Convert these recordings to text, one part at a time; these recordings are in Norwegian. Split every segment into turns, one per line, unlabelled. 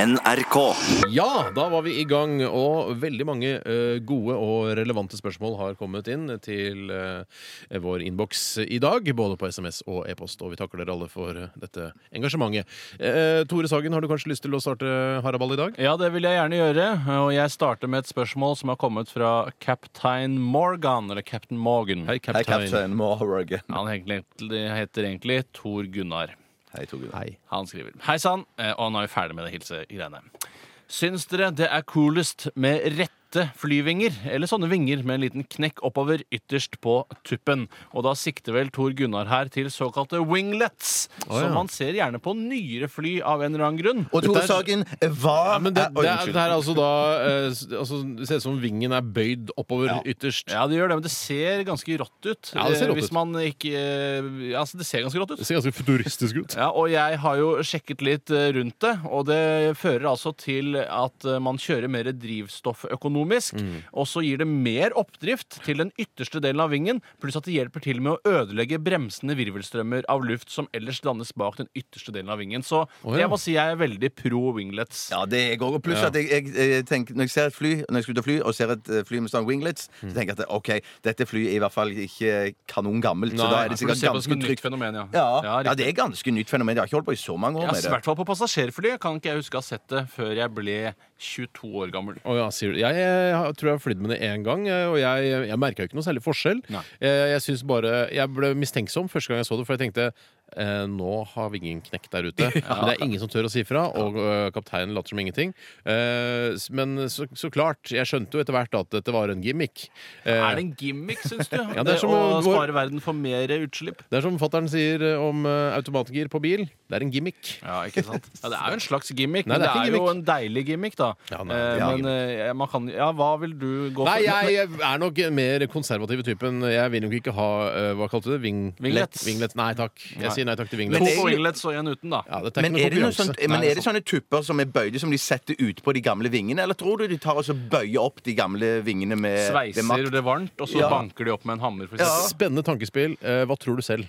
NRK.
Ja, da var vi i gang, og veldig mange eh, gode og relevante spørsmål har kommet inn til eh, vår innboks i dag, både på SMS og e-post, og vi takker dere alle for eh, dette engasjementet. Eh, Tore Sagen, har du kanskje lyst til å starte haraball i dag?
Ja, det vil jeg gjerne gjøre. Og jeg starter med et spørsmål som har kommet fra Captain Morgan. Eller Captain Morgan.
Hei,
Hei,
kaptein.
kaptein Morgan.
Han heter egentlig, heter egentlig Tor Gunnar.
Hei, Torgeir.
Han skriver Hei sann, eh, og nå er vi ferdig med det hilsegreiene. Syns dere det er coolest med rette flyvinger, eller sånne vinger med en liten knekk oppover ytterst på tuppen? Og da sikter vel Tor Gunnar her til såkalte winglets,
Å, ja.
som man ser gjerne på nyere fly av en eller annen grunn.
Og Tore
Dette er-
Sagen var
Ja, men det,
Oi,
det, er,
unnskyld.
det er altså da eh, s- altså, Det ser ut som vingen er bøyd oppover ytterst.
Ja, det gjør det, men det ser ganske rått ut.
Ja, det ser
eh,
rått
Hvis
ut.
man ikke eh, ja, Altså, det ser ganske rått ut.
Det ser ganske futuristisk ut.
Ja, og jeg har jo sjekket litt eh, rundt det, og det fører altså til at eh, man kjører mer drivstofføkonomisk,
Mm.
og så gir det mer oppdrift til den ytterste delen av vingen, pluss at det hjelper til med å ødelegge bremsende virvelstrømmer av luft som ellers dannes bak den ytterste delen av vingen. Så
Å, ja.
jeg må si jeg er veldig pro winglets.
Ja, det er jeg òg. Og pluss at jeg, jeg, jeg eh, tenker, når jeg ser et fly Når jeg skal ut og fly og ser et eh, fly med sånn winglets, så tenker jeg at OK, dette flyet er i hvert fall ikke kanon gammelt. Så da er det
for du
sikkert
ser på det
ganske
som et nytt
trygt.
fenomen, ja.
Ja,
Ja,
ja, det er ganske nytt fenomen. Jeg har ikke holdt på i så mange år
Sånn
Ja,
med
I
det.
hvert fall på passasjerfly kan ikke jeg huske å ha sett det før jeg ble 22 år gammel.
Å ja, sier du. Jeg, eh, har- tror jeg har flydd med det én gang, eh, og jeg, jeg merka jo ikke noe særlig forskjell.
Nei.
Eh, Jeg synes bare, jeg ble mistenksom første gang jeg så det, for jeg tenkte eh, nå har vingen knekt der ute. Men det er ingen som tør å si fra, og eh, kapteinen later som ingenting. Eh, s- Men så, så klart, jeg skjønte jo etter hvert at dette var en gimmick. Eh,
Er det en gimmick, syns du?
det er
det
som
å
å-
spare verden for mer utslipp?
Det er som fattern sier eh, om eh, automatgir på bil. Det er en gimmick.
Ja, ikke sant? Ja, det er jo en slags gimmick,
Nei,
men
det
det
er
er,
ikke
jo
gimmick.
en deilig gimmick, da.
Ja, nei,
Eh,
det er
men eh, man kan Ja, hva vil du gå for?
Nei, jeg, jeg er nok mer konservativ typen. Jeg vil nok ikke ha eh, Hva kalte du det? Ving,
Vinglets.
Vinglets. Nei takk. Jeg
Nei.
sier nei takk til
Men-
vinglets.
To
det er
på
jo-
winglets og en uten, da.
Ja, dette er
Men
ikke
er, det noe
sånn-
konkurranse.
sånt, men er det sånne tupper som er bøyde, som de setter ut på de gamle vingene? Eller tror du de tar og så bøyer opp de gamle vingene med med
Sveiser
makt?
det varmt, og så
Ja.
banker de opp med en hammer. For eksempel.
Spennende tankespill. Eh, Hva tror du selv?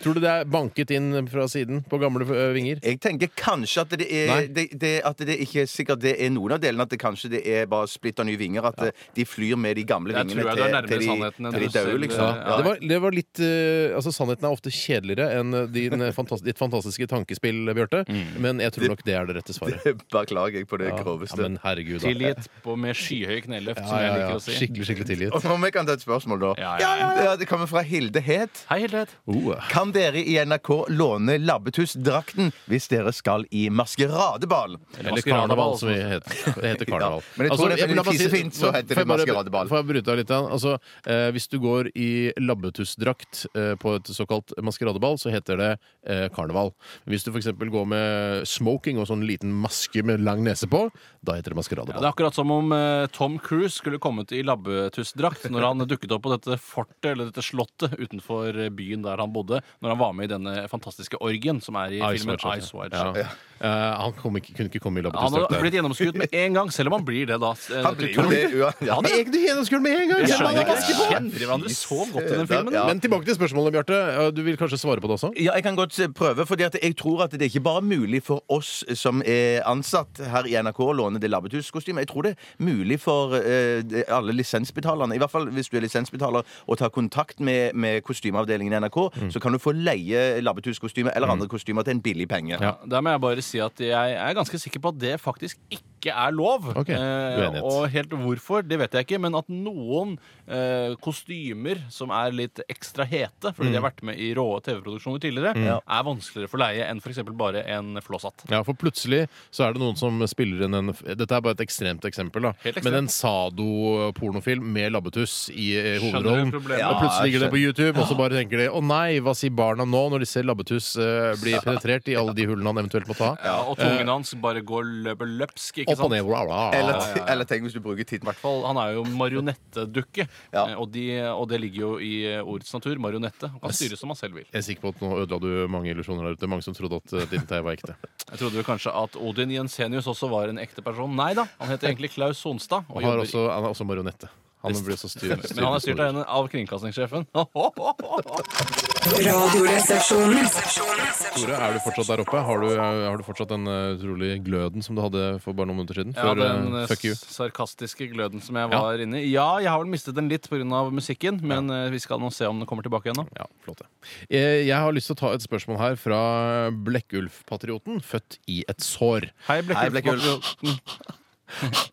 tror du det er banket inn fra siden på gamle eh, vinger?
Jeg tenker kanskje at det,
Nei.
er, det, det, at det ikke er sikkert det er noen av delene. At det kanskje det er bare splitter nye vinger. At eh, de flyr med de gamle
Jeg
vingene
tror jeg du er
til,
nærmere
til de,
sannheten enn
til de
du selv,
døde, liksom.
eh, Ja.
Det, var, det var litt eh, Altså Sannheten er ofte kjedeligere enn eh, din, eh, fantas ditt fantastiske tankespill, eh, Bjarte.
Mm.
Men jeg tror nok det er det rette svaret.
Beklager jeg på det
Ja,
groveste.
ja, men herregud, da.
Tilgitt på, med skyhøy kneløft,
Ja,
som jeg
ja, ja.
liker å si.
Skikkelig, skikkelig tilgitt.
Om jeg kan ta et spørsmål, da?
Ja, ja, ja.
det kommer fra Hilde Het.
Hei, Hildred.
Oh,
Kan dere i NRK låne labbetussdrakten hvis dere skal i maskeradeball?
Eller karneval, som vi heter. Det heter karneval. Altså,
Ja, men jeg tror det er
jeg-
fordi
la meg si-
fisefint, så heter det
Får jeg bare-
maskeradeball.
Får jeg bryte deg litt? da? Altså, eh, hvis du går i labbetussdrakt eh, på et såkalt maskeradeball, så heter det eh, karneval. Hvis du f.eks. går med smoking og sånn liten maske med lang nese på, da heter det
Ja, det er
maskeradeball.
akkurat som om eh, Tom Cruise skulle kommet i labbetussdrakt når han dukket opp på dette fortet, eller dette slottet, utenfor eh, byen der han bodde, når han var med i denne fantastiske orgien som er i filmen
Wide Shot,
Ice Wide
ja.
Shot.
Ja. Eh, han kom ikke, kunne ikke komme i
Han hadde
labbetussdrakt.
blitt gjennomskuet med en gang, selv om han blir det, da. eh,
Han blir jo det uansett.
Han er egentlig gjennomskuet med en gang!
Jeg
selv om han har
skjønner ikke.
maske
De
på.
kjenner hverandre så godt i den filmen.
Ja.
Men tilbake til spørsmålet, Bjarte. Eh, Du vil kanskje svare på det også?
Ja, jeg kan godt eh, prøve, for jeg tror at det er ikke bare mulig for oss eh, som er ansatt her i NRK å låne det labbetusskostymet. Jeg tror det er mulig for eh, det- alle lisensbetalerne, i hvert fall hvis du er lisensbetaler, å ta kontakt med, med kostymeavdelingen i NRK,
Mm.
så kan du få leie labbetusskostyme eller andre kostymer til en billig penge.
Ja, der må jeg bare si at jeg er ganske sikker på at det faktisk ikke er lov.
Ok, uenighet.
Eh, og helt hvorfor, det vet jeg ikke, men at noen eh, kostymer som er litt ekstra hete, fordi
Mm.
de har vært med i rå TV-produksjoner tidligere, er vanskeligere for leie enn f.eks. bare en flåsatt.
Ja, for plutselig så er det noen som spiller inn en Dette er bare et ekstremt eksempel, da.
Helt ekstremt.
Men en sado-pornofilm med labbetuss i eh,
Skjønner du
hovedrollen.
problemet?
og plutselig ligger det på YouTube, og så bare tenker de å nei, hva sier barna nå når de ser labbetuss eh, bli penetrert i alle de hullene han eventuelt må ta?
Ja, og tungen hans bare går løper løpsk, ikke
eh, Opp og
sant?
ned. bla, bla, bla.
Eller, eller tenk hvis du bruker tid
I hvert fall, Han er jo marionettedukke,
Ja.
eh, og, de, og det ligger jo i eh, ordets natur. Marionette. Han kan styres som han selv vil.
Jeg er sikker på at nå ødela du mange illusjoner der ute. Mange som trodde at eh, din teie var ekte.
Jeg trodde vel kanskje at Odin Jensenius også var en ekte person. Nei da, han heter egentlig Klaus Sonstad. Og
Og har
jobber,
også, han er også marionette. Han blir så styrt.
Men han er styrt av, en, av kringkastingssjefen.
Radioresepsjonen.
Tore, er du fortsatt der oppe? Har du, har du fortsatt den eh, utrolig gløden som du hadde for bare noen minutter siden?
Ja,
Før,
den
eh,
eh,
fuck you.
sarkastiske gløden som jeg
Ja.
var inne i. Ja, jeg har vel mistet den litt pga. musikken, men eh, vi skal nå se om den kommer tilbake igjen nå.
Ja, flott det. Eh, Jeg har lyst til å ta et spørsmål her fra Blekkulf-patrioten, født i et sår.
Hei,
Hei, Blekkulf.
Blekkulf.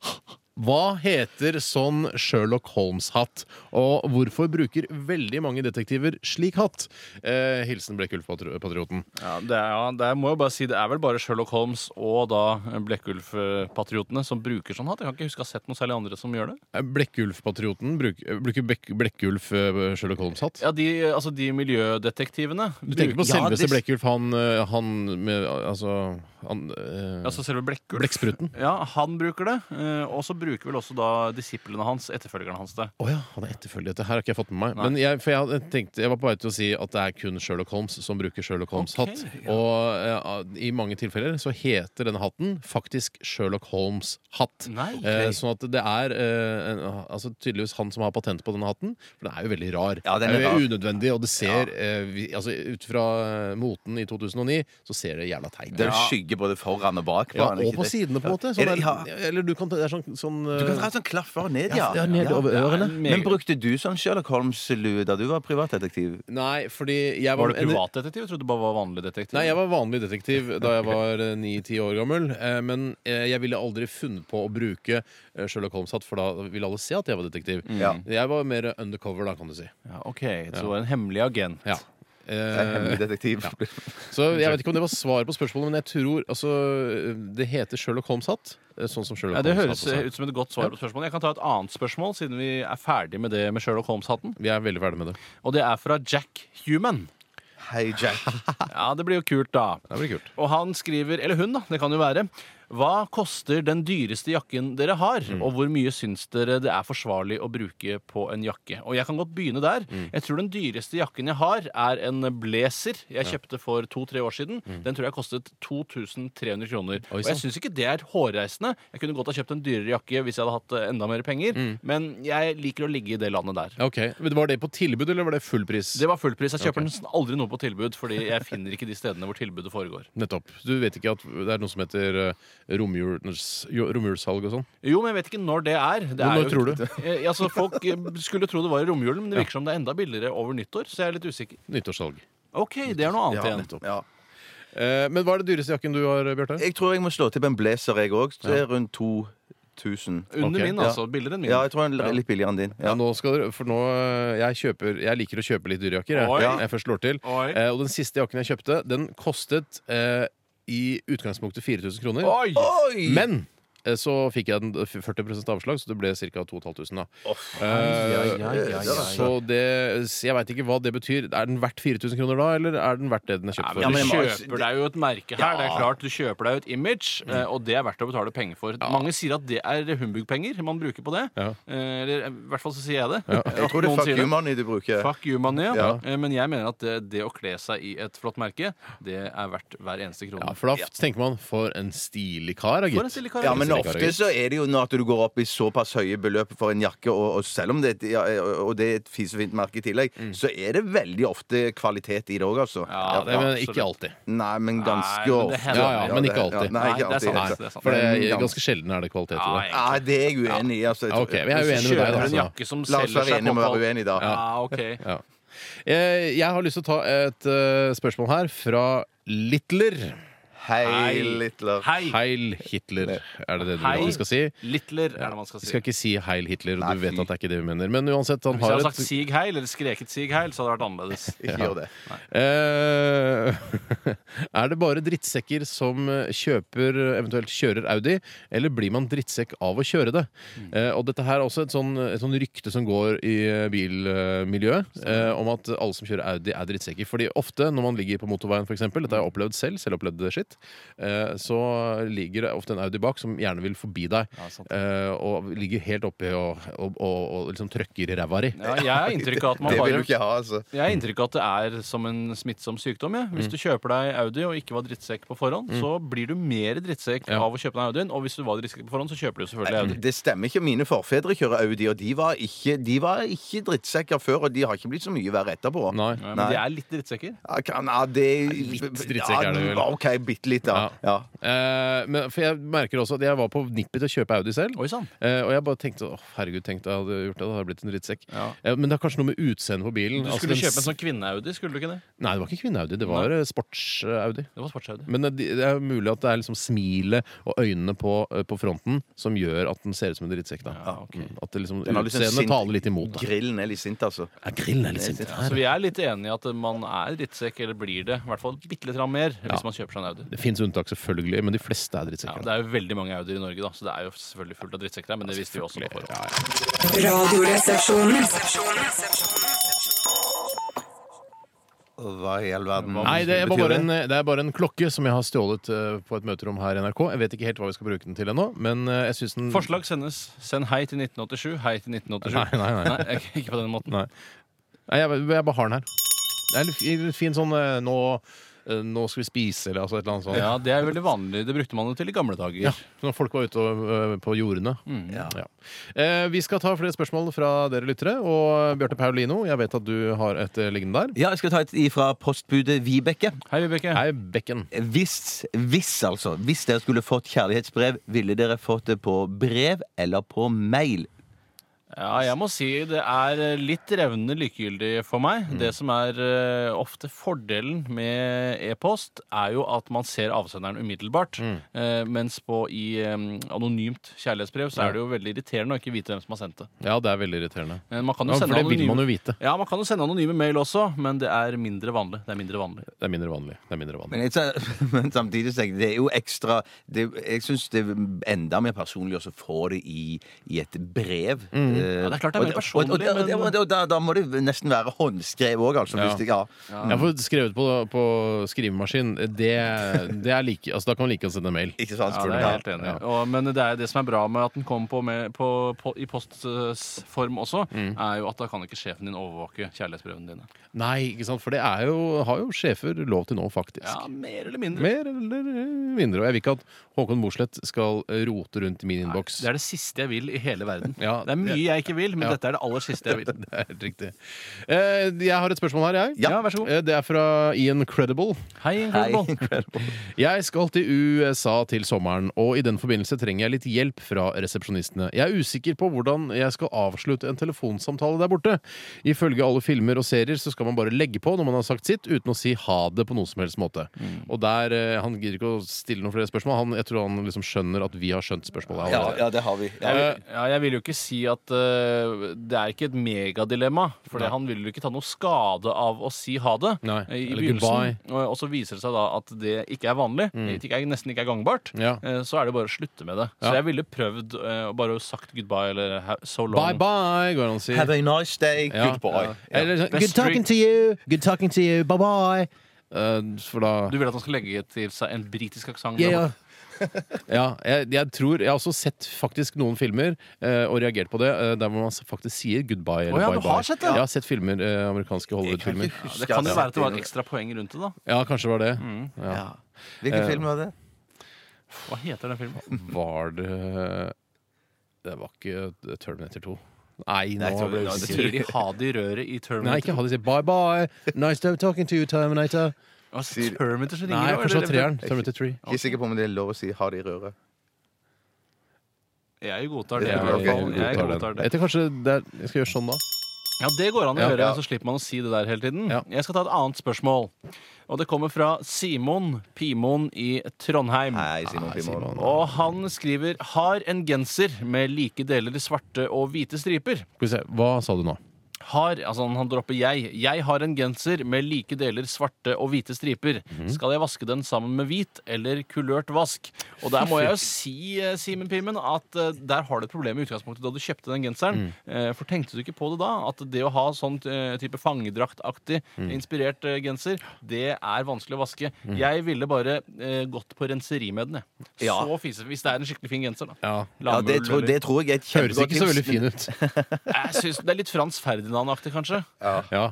Hva heter sånn Sherlock Holmes-hatt? Og hvorfor bruker veldig mange detektiver slik hatt? Eh, hilsen Blekkulf-patrioten.
Ja, det er, ja, det er, må jeg bare si, det er vel bare Sherlock Holmes og da eh, Blekkulf-patriotene som bruker sånn hatt. Jeg kan ikke huske å ha sett noe særlig andre som gjør det.
Eh, Blekkulf-patrioten bruk- eh, bruker Bek- Blekkulf eh, Sherlock Holmes-hatt?
Ja, de, altså de miljødetektivene.
Du tenker på
Ja,
selveste
det-
Blekkulf, han, eh, han med Altså han, eh,
Altså selve Blekkulf.
Blekkspruten.
Ja, han bruker det. eh, Og så bruker vel også da disiplene hans, etterfølgerne hans, det.
Å ja, han er etterfølger. Dette her har ikke jeg fått med meg.
Nei.
Men jeg, for jeg, hadde tenkt, jeg var på vei til å si at det er kun Sherlock Holmes som bruker Sherlock Holmes-hatt.
Ok,
Og eh, i mange tilfeller så heter denne hatten faktisk Sherlock Holmes-hatt.
Nei, ok.
Eh, sånn at det er eh, en, altså tydeligvis han som har patent på denne hatten. For den er jo veldig rar.
Ja, den er
det er jo
rar.
unødvendig, og det ser eh, vi, altså, Ut fra eh, moten i 2009 så ser det jævla teit ut.
Det er jo skygge både foran og bak. på
Ja,
han,
og
ikke
på
det?
sidene, på en
Ja.
måte. Sånn
Ja.
der, eller du kan, det er sånn, sånn
Du kan
eh,
dra sånn klaffer ned,
ja,
ja.
ja, ned over ørene.
Men brukte du sånn Sherlock Holmes-lue da du var privatdetektiv?
Nei, fordi jeg var,
Var du privatdetektiv? Jeg trodde du bare var vanlig detektiv.
Nei, jeg var vanlig detektiv da jeg var eh, ni-ti år gammel. eh, Men eh, jeg ville aldri funnet på å bruke eh, Sherlock Holmes-hatt, for da ville alle se at jeg var detektiv.
Ja.
Jeg var mer undercover, da, kan du si.
ja, ok, Så du var en hemmelig agent.
Ja.
Jeg er
Eh,
Hemmelig detektiv.
så jeg vet ikke om det var svar på spørsmålet, men jeg tror altså, Det heter Sherlock Holmes-hatt. eh, Sånn som Sherlock
Ja, det
Holmes
høres eh,
har på seg.
ut som et godt svar på spørsmålet. Jeg kan ta et annet spørsmål, siden vi er ferdig med det med Sherlock Holmes-hatten.
Vi er veldig ferdig med det.
Og det er fra Jack Human.
Hei, Jack.
Ja, det blir jo kult, da.
Det blir kult.
Og han skriver, eller hun, da, det kan jo være Hva koster den dyreste jakken dere har,
Mm.
og hvor mye syns dere det er forsvarlig å bruke på en jakke? Og jeg kan godt begynne der.
Mm.
Jeg tror den dyreste jakken jeg har, er en blazer jeg kjøpte for to-tre år siden. Den tror jeg kostet 2300
Mm. Oi,
kroner.
sånn.
og jeg
sant.
syns ikke det er hårreisende. Jeg kunne godt ha kjøpt en dyrere jakke hvis jeg hadde hatt eh, enda mer penger, men jeg liker å ligge i det landet der.
Mm. Ja, Ok, men Var det på tilbud, eller var det full pris?
Det var fullpris. Jeg kjøper nesten aldri noe på tilbud, fordi jeg finner ikke de stedene hvor tilbudet foregår.
Nettopp. Du vet ikke at det er noe som heter eh, romjuls- jo- romjulssalg og sånn?
Jo, men jeg vet ikke når det er. Det
Jo,
er
når
jo-
tror du?
Eh, altså, folk eh, skulle tro det var i romjulen, men det virker som det er enda billigere over nyttår. Så jeg er litt usikker.
Nyttårssalg.
Ok, det er noe annet igjen.
Ja.
Eh, Men hva er det dyreste jakken du har, Bjarte?
Jeg tror jeg må slå til på en blazer, jeg òg. Rundt 2000.
Under
Ok,
min,
ja.
altså. Billigere enn min.
Ja, jeg tror den er litt billigere enn din.
Ja,
Ja.
nå skal dere, for nå, eh, jeg, kjøper, jeg liker å kjøpe litt dyre jakker.
Oi.
Jeg, jeg først slår til.
Oi.
Eh, og den siste jakken jeg kjøpte, den kostet eh, i utgangspunktet 4000 kroner.
Oi!
Oi!
Men eh, så fikk jeg den 40 avslag, så det ble ca. 2500. da. Eh,
Ja, ja, ja, ja.
Så det, så jeg veit ikke hva det betyr. Er den verdt 4000 kroner da, eller er den verdt det den er kjøpt for?
Ja, men
det
du
må-
kjøper deg jo et merke her. Det er klart, Du kjøper deg jo et image, eh, og det er verdt å betale penger for. Mange sier at det er humbug-penger man bruker på det.
Ja.
Eh, Eller eh, i hvert fall så sier jeg det.
Jeg tror det er
Noen sier
fuck you money du bruker.
Fuck you, man, ja.
Ja.
Eh, Men jeg mener at det, det å kle seg i et flott merke, det er verdt hver eneste krone.
Ja, for da f- tenker man for en stilig kar, da,
For en
gitt.
stilig kar.
Ja, men ofte så er det jo nå at du går opp i såpass høye beløp for en jakke, og, og selv om det, er et- ja, og det er et fisefint merke i tillegg, så er det veldig ofte kvalitet i det òg, altså.
Ja,
Det, men
absolutt.
ikke alltid.
Nei, men ganske
Nei, men det
ofte.
hender.
Ja, ja, men ikke
det-
alltid.
nei,
Nei,
ikke
det er
alltid.
sant, det er sant.
For det er
Men
ganske sjelden er det kvalitet i
Ja,
det.
ja.
Nei, det er jeg uenig i. Altså,
Ok, men jeg er uenig med deg, da.
Kjøper en
altså.
jakke som
La oss
selger
være
seg
enige om å
på-
være uenige, da.
Ja, Ah, ok.
Ja. Eh, Jeg har lyst til å ta et eh, spørsmål her fra Littler.
Hei,
Hei.
Littler.
Hei,
Heil Hitler, er det det du vil
Heil.
at vi skal si?
Littler, er det man skal
Vi
si.
skal ikke si Heil Hitler, og
Nei,
du vet
fy.
at det er ikke det vi mener. Men uansett, han
Hvis jeg
har
hadde
et
sagt Sig Heil eller skreket Sig Heil, så hadde det vært annerledes.
Ikke gjør det.
Eh, Er det bare drittsekker som kjøper, eventuelt kjører Audi, eller blir man drittsekk av å kjøre det?
Mm.
Eh, Og dette her er også et sånn, et sånn rykte som går i eh, bilmiljøet, eh, om at alle som kjører Audi er drittsekker. Fordi ofte når man ligger på motorveien, f.eks., dette har jeg opplevd selv, selv opplevd shit, dikt, eh, så ligger det ofte en Audi bak som gjerne vil forbi deg.
sant.
eh, og ligger helt oppi og, og, og, og liksom trøkker i ræva di.
Ja, jeg har inntrykk av at man
Det vil
bare
du ikke ha, altså.
Jeg har inntrykk av at det er som en smittsom sykdom. Ja.
Mm.
Hvis du kjøper deg Audi og ikke var drittsekk på forhånd, så blir du mer drittsekk
Ja.
av å kjøpe deg Audien. Og hvis du var drittsekk på forhånd, så kjøper du selvfølgelig Audi.
Det stemmer ikke. Mine forfedre kjører Audi, og de var ikke, de var ikke drittsekker før, og de har ikke blitt så mye verre etterpå.
Nei.
Ja, men
Nei.
de er litt drittsekker.
Ja, kan- ja, det,
Litt drittsekk er det vel.
Ja, OK, bitte litt, da. Ja.
Eh, men, for jeg merker også at jeg var på nippet til å kjøpe Audi selv.
Oi sann.
Eh, og jeg bare tenkte åh, herregud, tenkte jeg hadde gjort det, da hadde jeg blitt en drittsekk.
Ja.
Eh, men det er kanskje noe med utseendet på bilen.
Du
Altså,
skulle
den
kjøpe en
s-
sånn kvinne-Audi, skulle du ikke det?
Nei, det var ikke kvinne-Audi, det var eh, sports-Audi.
Det var sports-Audi.
Men eh, de- det er mulig at det er liksom smilet og øynene på, eh, på fronten som gjør at den ser ut som en drittsekk. Da.
Ja, ok.
Mm, At det liksom,
Den har liksom
utseendet
sint-
taler litt imot. Da.
Grillen er litt sint, altså.
Ja, grillen er litt sint.
Så vi er litt enige i at man er drittsekk, eller blir det. I hvert fall bitte litt grann mer
Ja.
hvis man kjøper seg en Audi.
Det fins unntak, selvfølgelig, men de fleste er
Ja,
drittsekker.
det er jo veldig mange Audier i Norge, da, så det er jo selvfølgelig fullt av drittsekker her, men det visste vi også på forhånd.
Radioresepsjonen.
Hva i all verden
Nei, det er,
betyr
bare en, det er bare en klokke som jeg har stjålet eh, på et møterom her i NRK. Jeg vet ikke helt hva vi skal bruke den til ennå, men eh, jeg syns den
Forslag sendes. Send hei til 1987. Hei til 1987.
Nei, nei, nei.
Nei, eh. ikke- ikke på den måten.
Nei. Nei, jeg, jeg bare har den her. Det er en fin- en fin sånn eh, nå, eh, nå skal vi spise, eller altså, et eller annet sånt.
Ja, det er veldig vanlig. Det brukte man jo til i gamle dager.
Ja, når folk var ute og, ø, på jordene.
Mm.
Ja. Eh, vi skal ta flere spørsmål fra dere lyttere. Og eh, Bjarte Paulino, jeg vet at du har et eh, liggende der.
Ja, jeg skal ta et fra postbudet Vibeke.
Hei, Vibeke.
Hei, Bekken.
Hvis, hvis altså, hvis dere skulle fått kjærlighetsbrev, ville dere fått det på brev eller på mail?
Ja, jeg må si det er eh, litt revnende likegyldig for meg. Det som er eh, ofte fordelen med e-post, er jo at man ser avsenderen umiddelbart. Eh, mens på i eh, anonymt kjærlighetsbrev så er det jo veldig irriterende å ikke vite hvem som har sendt det.
Ja, det er veldig irriterende.
Men man kan
Ja,
jo
for
sende
det vil
anonyme-
man jo vite.
Ja, man kan jo sende anonyme mail også, men det er mindre vanlig. Det er mindre vanlig.
Det er mindre vanlig. Det er mindre vanlig.
Men, jeg, sa- men samtidig så tenker jeg det er jo ekstra det, Jeg syns det er enda mer personlig å få det i, i et brev.
Mm. Ja, det er klart det er mer personlig,
Og, og, og, og, og,
men-
og, da, da må det nesten være håndskrevet òg, altså.
Ja.
Hvis det, ja.
Jeg får skrevet på, på skrivemaskin. Det, det er like, altså, da kan man like å sende mail.
Ikke sant?
Ja, det er jeg helt enig. i. Og, men det er jo det som er bra med at den kommer på, med, på, på, i postform også, er jo at da kan ikke sjefen din overvåke kjærlighetsbrevene dine.
Nei, ikke sant? for det er jo, har jo sjefer lov til nå, faktisk.
Ja, mer eller mindre.
Mer eller mindre. Og jeg vil ikke at Håkon Mosleth skal rote rundt i min innboks.
Det er det siste jeg vil i hele verden.
Ja,
det er mye
det-
jeg ikke vil, men
Ja.
dette er det aller siste jeg vil.
Det er helt riktig. Eh, jeg har et spørsmål her, jeg.
Ja.
Ja, vær så god.
Eh, Det er fra Ian Credible.
Hei, Incredible.
Eh, Jeg skal til USA til sommeren, og i den forbindelse trenger jeg litt hjelp fra resepsjonistene. Jeg er usikker på hvordan jeg skal avslutte en telefonsamtale der borte. Ifølge alle filmer og serier så skal man bare legge på når man har sagt sitt, uten å si ha det på noen som helst måte. Og der, eh, Han gidder ikke å stille noen flere spørsmål. Han, jeg tror han liksom skjønner at vi har skjønt spørsmålet.
Ja,
allerede.
ja, det har vi. Ja.
Jeg vil, ja, jeg vil jo ikke si at eh, det er ikke et megadilemma. For det- han vil jo ikke ta noe skade av å si ha det
Nei,
eh, i
eller
begynnelsen. Og, og så viser det seg da at det ikke er vanlig, det ikke er, nesten ikke er gangbart.
Mm. Ja.
eh, Så er det bare å slutte med det.
Ja.
Så jeg ville prøvd eh, og bare sagt goodbye eller ha- so long.
Bye bye, går det an å si.
Have a nice day.
Ja.
Goodbye.
Eller sånn,
Best
Good talking
drink.
to you! Good talking to you! Bye bye! Eh, for da
Du vil at han skal legge til seg en britisk aksent?
Ja, ja jeg, jeg tror Jeg har også sett faktisk noen filmer eh, og reagert på det, eh, der hvor man faktisk sier goodbye eller
Å ja,
bye
du har
bye.
sett det?
Jeg har sett filmer, eh, amerikanske Hollywood-filmer.
Det kan jo være at det var et ekstra poeng rundt det. da
Ja, kanskje var det. Ja.
Ja. Hvilken
Eh,
film var det?
Hva heter den filmen?
Var det Det var ikke eh, Terminator 2. Nei, nå
Nei, jeg tror-
ble
ja,
jeg
det
usikker.
Sier de ha det i røret i
Nei, ikke
Terminator?
ha det. Si bye bye. Nice to talking to you, Terminator.
Hva, Terminator som ringer
Nei,
nå,
kanskje det var treeren.
eller?
Terminator 3.
Ikke sikker på om det er lov å si 'ha det i røret'.
Jeg godtar det. i
Ja,
hvert
ok,
fall.
jeg
Jeg
godtar den.
godtar det.
Jeg tror kanskje det er, jeg skal gjøre sånn, da.
Ja, det går an å
Ja.
gjøre,
Ja.
så slipper man å si det der hele tiden.
Ja.
Jeg skal ta et annet spørsmål. Og det kommer fra Simon Pimon i Trondheim.
Nei, Simon Pimon.
Og han skriver har en genser med like deler svarte og hvite striper.
Skal vi se. Hva sa du nå?
har Altså, han- han dropper jeg. Jeg har en genser med like deler svarte og hvite striper.
Mhm.
Skal jeg vaske den sammen med hvit eller kulørt vask? Og der må jeg jo si, eh, Simen Pimen, at eh, der har du et problem i utgangspunktet da du kjøpte den
Mm.
genseren. Eh, For tenkte du ikke på det da? At det å ha sånn eh, type fangedraktaktig
Mm.
inspirert eh, genser, det er vanskelig å vaske. Jeg ville bare eh, gått på renseri med den, jeg.
Ja.
Så fise, hvis det er en skikkelig fin genser, da.
Ja.
Ja,
Lamøl
det, tror,
eller-
det tror jeg er et
Høres
kjempegodt
ikke så veldig
tips.
fin ut.
Jeg synes det er litt Frans Ferdinand-aktig, kanskje.
Ja.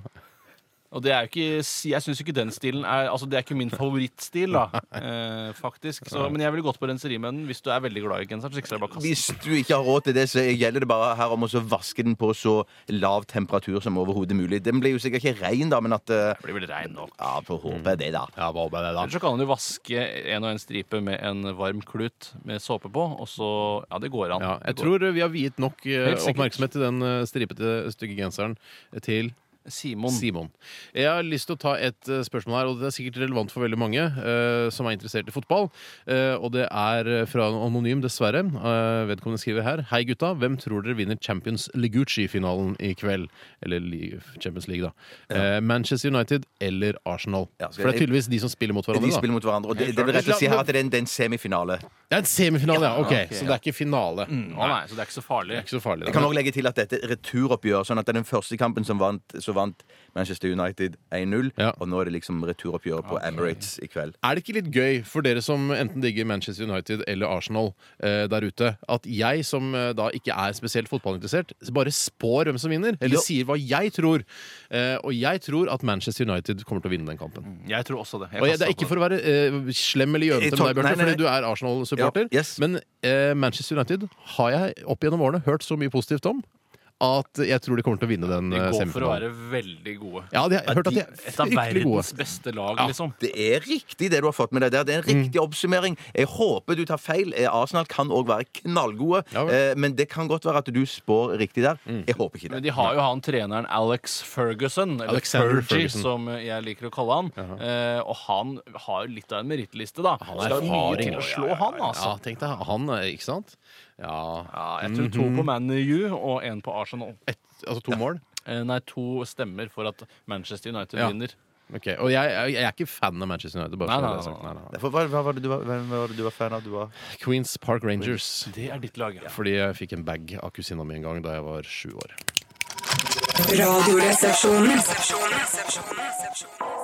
Og det er jo ikke, jeg syns ikke den stilen er Altså, det er ikke min favorittstil, da. Eh, faktisk. Så, men jeg ville gått på renseri med den hvis du er veldig glad i genseren. Så ikke skal jeg bare kaste den.
Hvis du ikke har råd til det, så gjelder det bare her om å så vaske den på så lav temperatur som overhodet mulig. Den blir jo sikkert ikke rein, da, men at eh,
Det blir vel regn nå.
Ja, får håpe det, da.
Mm. Ja, hva med det, da?
Ellers så kan man jo vaske en og en stripe med en varm klut med såpe på, og så Ja, det går an.
Ja, jeg
Det går.
tror vi har viet nok eh,
Helt sikkert.
oppmerksomhet til den eh, stripete, stygge genseren til
Simon.
Simon. Jeg har lyst til å ta et eh, spørsmål her, og det er sikkert relevant for veldig mange eh, som er interessert i fotball. Eh, og det er eh, fra en anonym, dessverre. Eh, vedkommende skriver her. Hei, gutta. Hvem tror dere vinner Champions Ligucci-finalen i kveld? Eller li- Champions League, da. Eh, Manchester United eller Arsenal?
Ja, skal
for det er
jeg-
tydeligvis de som spiller mot
De
hverandre, da.
spiller mot hverandre. Og det, det vil rett og slett si her at det er en, det er en semifinale.
Det er en semifinale, ja! Ok, så
Ja, ok, ja. Mm.
det er ikke finale.
Å nei, så det er ikke så farlig.
Det er ikke så farlig.
Jeg
Da.
kan også legge til at dette er returoppgjør. Sånn at det er den første kampen som vant, så vant Manchester United 1-0.
Ja.
Og nå er det liksom returoppgjør på Emirates i kveld.
Er det ikke litt gøy for dere som enten digger Manchester United eller Arsenal eh, der ute, at jeg som eh, da ikke er spesielt fotballinteressert, bare spår hvem som vinner? Eller
Jo.
sier hva jeg tror. Eh, og jeg tror at Manchester United kommer til å vinne den kampen.
Mm.
Jeg tror også det. Jeg
Og jeg,
kaster
det er
på
ikke for å være eh, slem eller
Jeg
gjønete
tar- nei,
med deg, Bjarte,
nei,
fordi
nei.
du er Arsenal-supporter,
Ja, yes.
men eh, Manchester United har jeg opp gjennom årene hørt så mye positivt om at jeg tror de kommer til å vinne den
De
eh,
går for å
semifinalen.
være veldig gode.
Ja, de har hørt at de er
Et av
fryktelig gode.
verdens beste lag,
Ja.
liksom.
Det er riktig det du har fått med deg der. Det er en
Mm.
riktig oppsummering. Jeg håper du tar feil. Eh, Arsenal kan òg være knallgode,
Ja vel. Mm.
eh, men det kan godt være at du spår riktig der. Jeg håper ikke
Men
det.
de har jo han treneren Alex Ferguson, eller
Alexander
Fergie,
Ferguson.
som jeg liker å kalle han. Eh, og han har jo litt av en merittliste, da. Han er mye til å slå han, altså. Mm-hmm.
Ja, tenk deg han, eh, ikke sant? Ja,
Ja, jeg tror to på Man U og én på Arsenal.
ett, altså to mål.
Eh, nei, to stemmer for at Manchester United
Ja.
vinner.
Ok, Og jeg, jeg, jeg er ikke fan av Manchester United. Bare
Nei,
så
nei,
det er sagt.
nei, nei.
Nei,
Derfor, hva, hva, var det du var, hvem var det du var fan av? Du var
nei. Queens Park Rangers.
Det er ditt lag, ja.
Fordi jeg fikk en bag av kusina mi en gang da jeg var sju år.
Radioresepsjonen.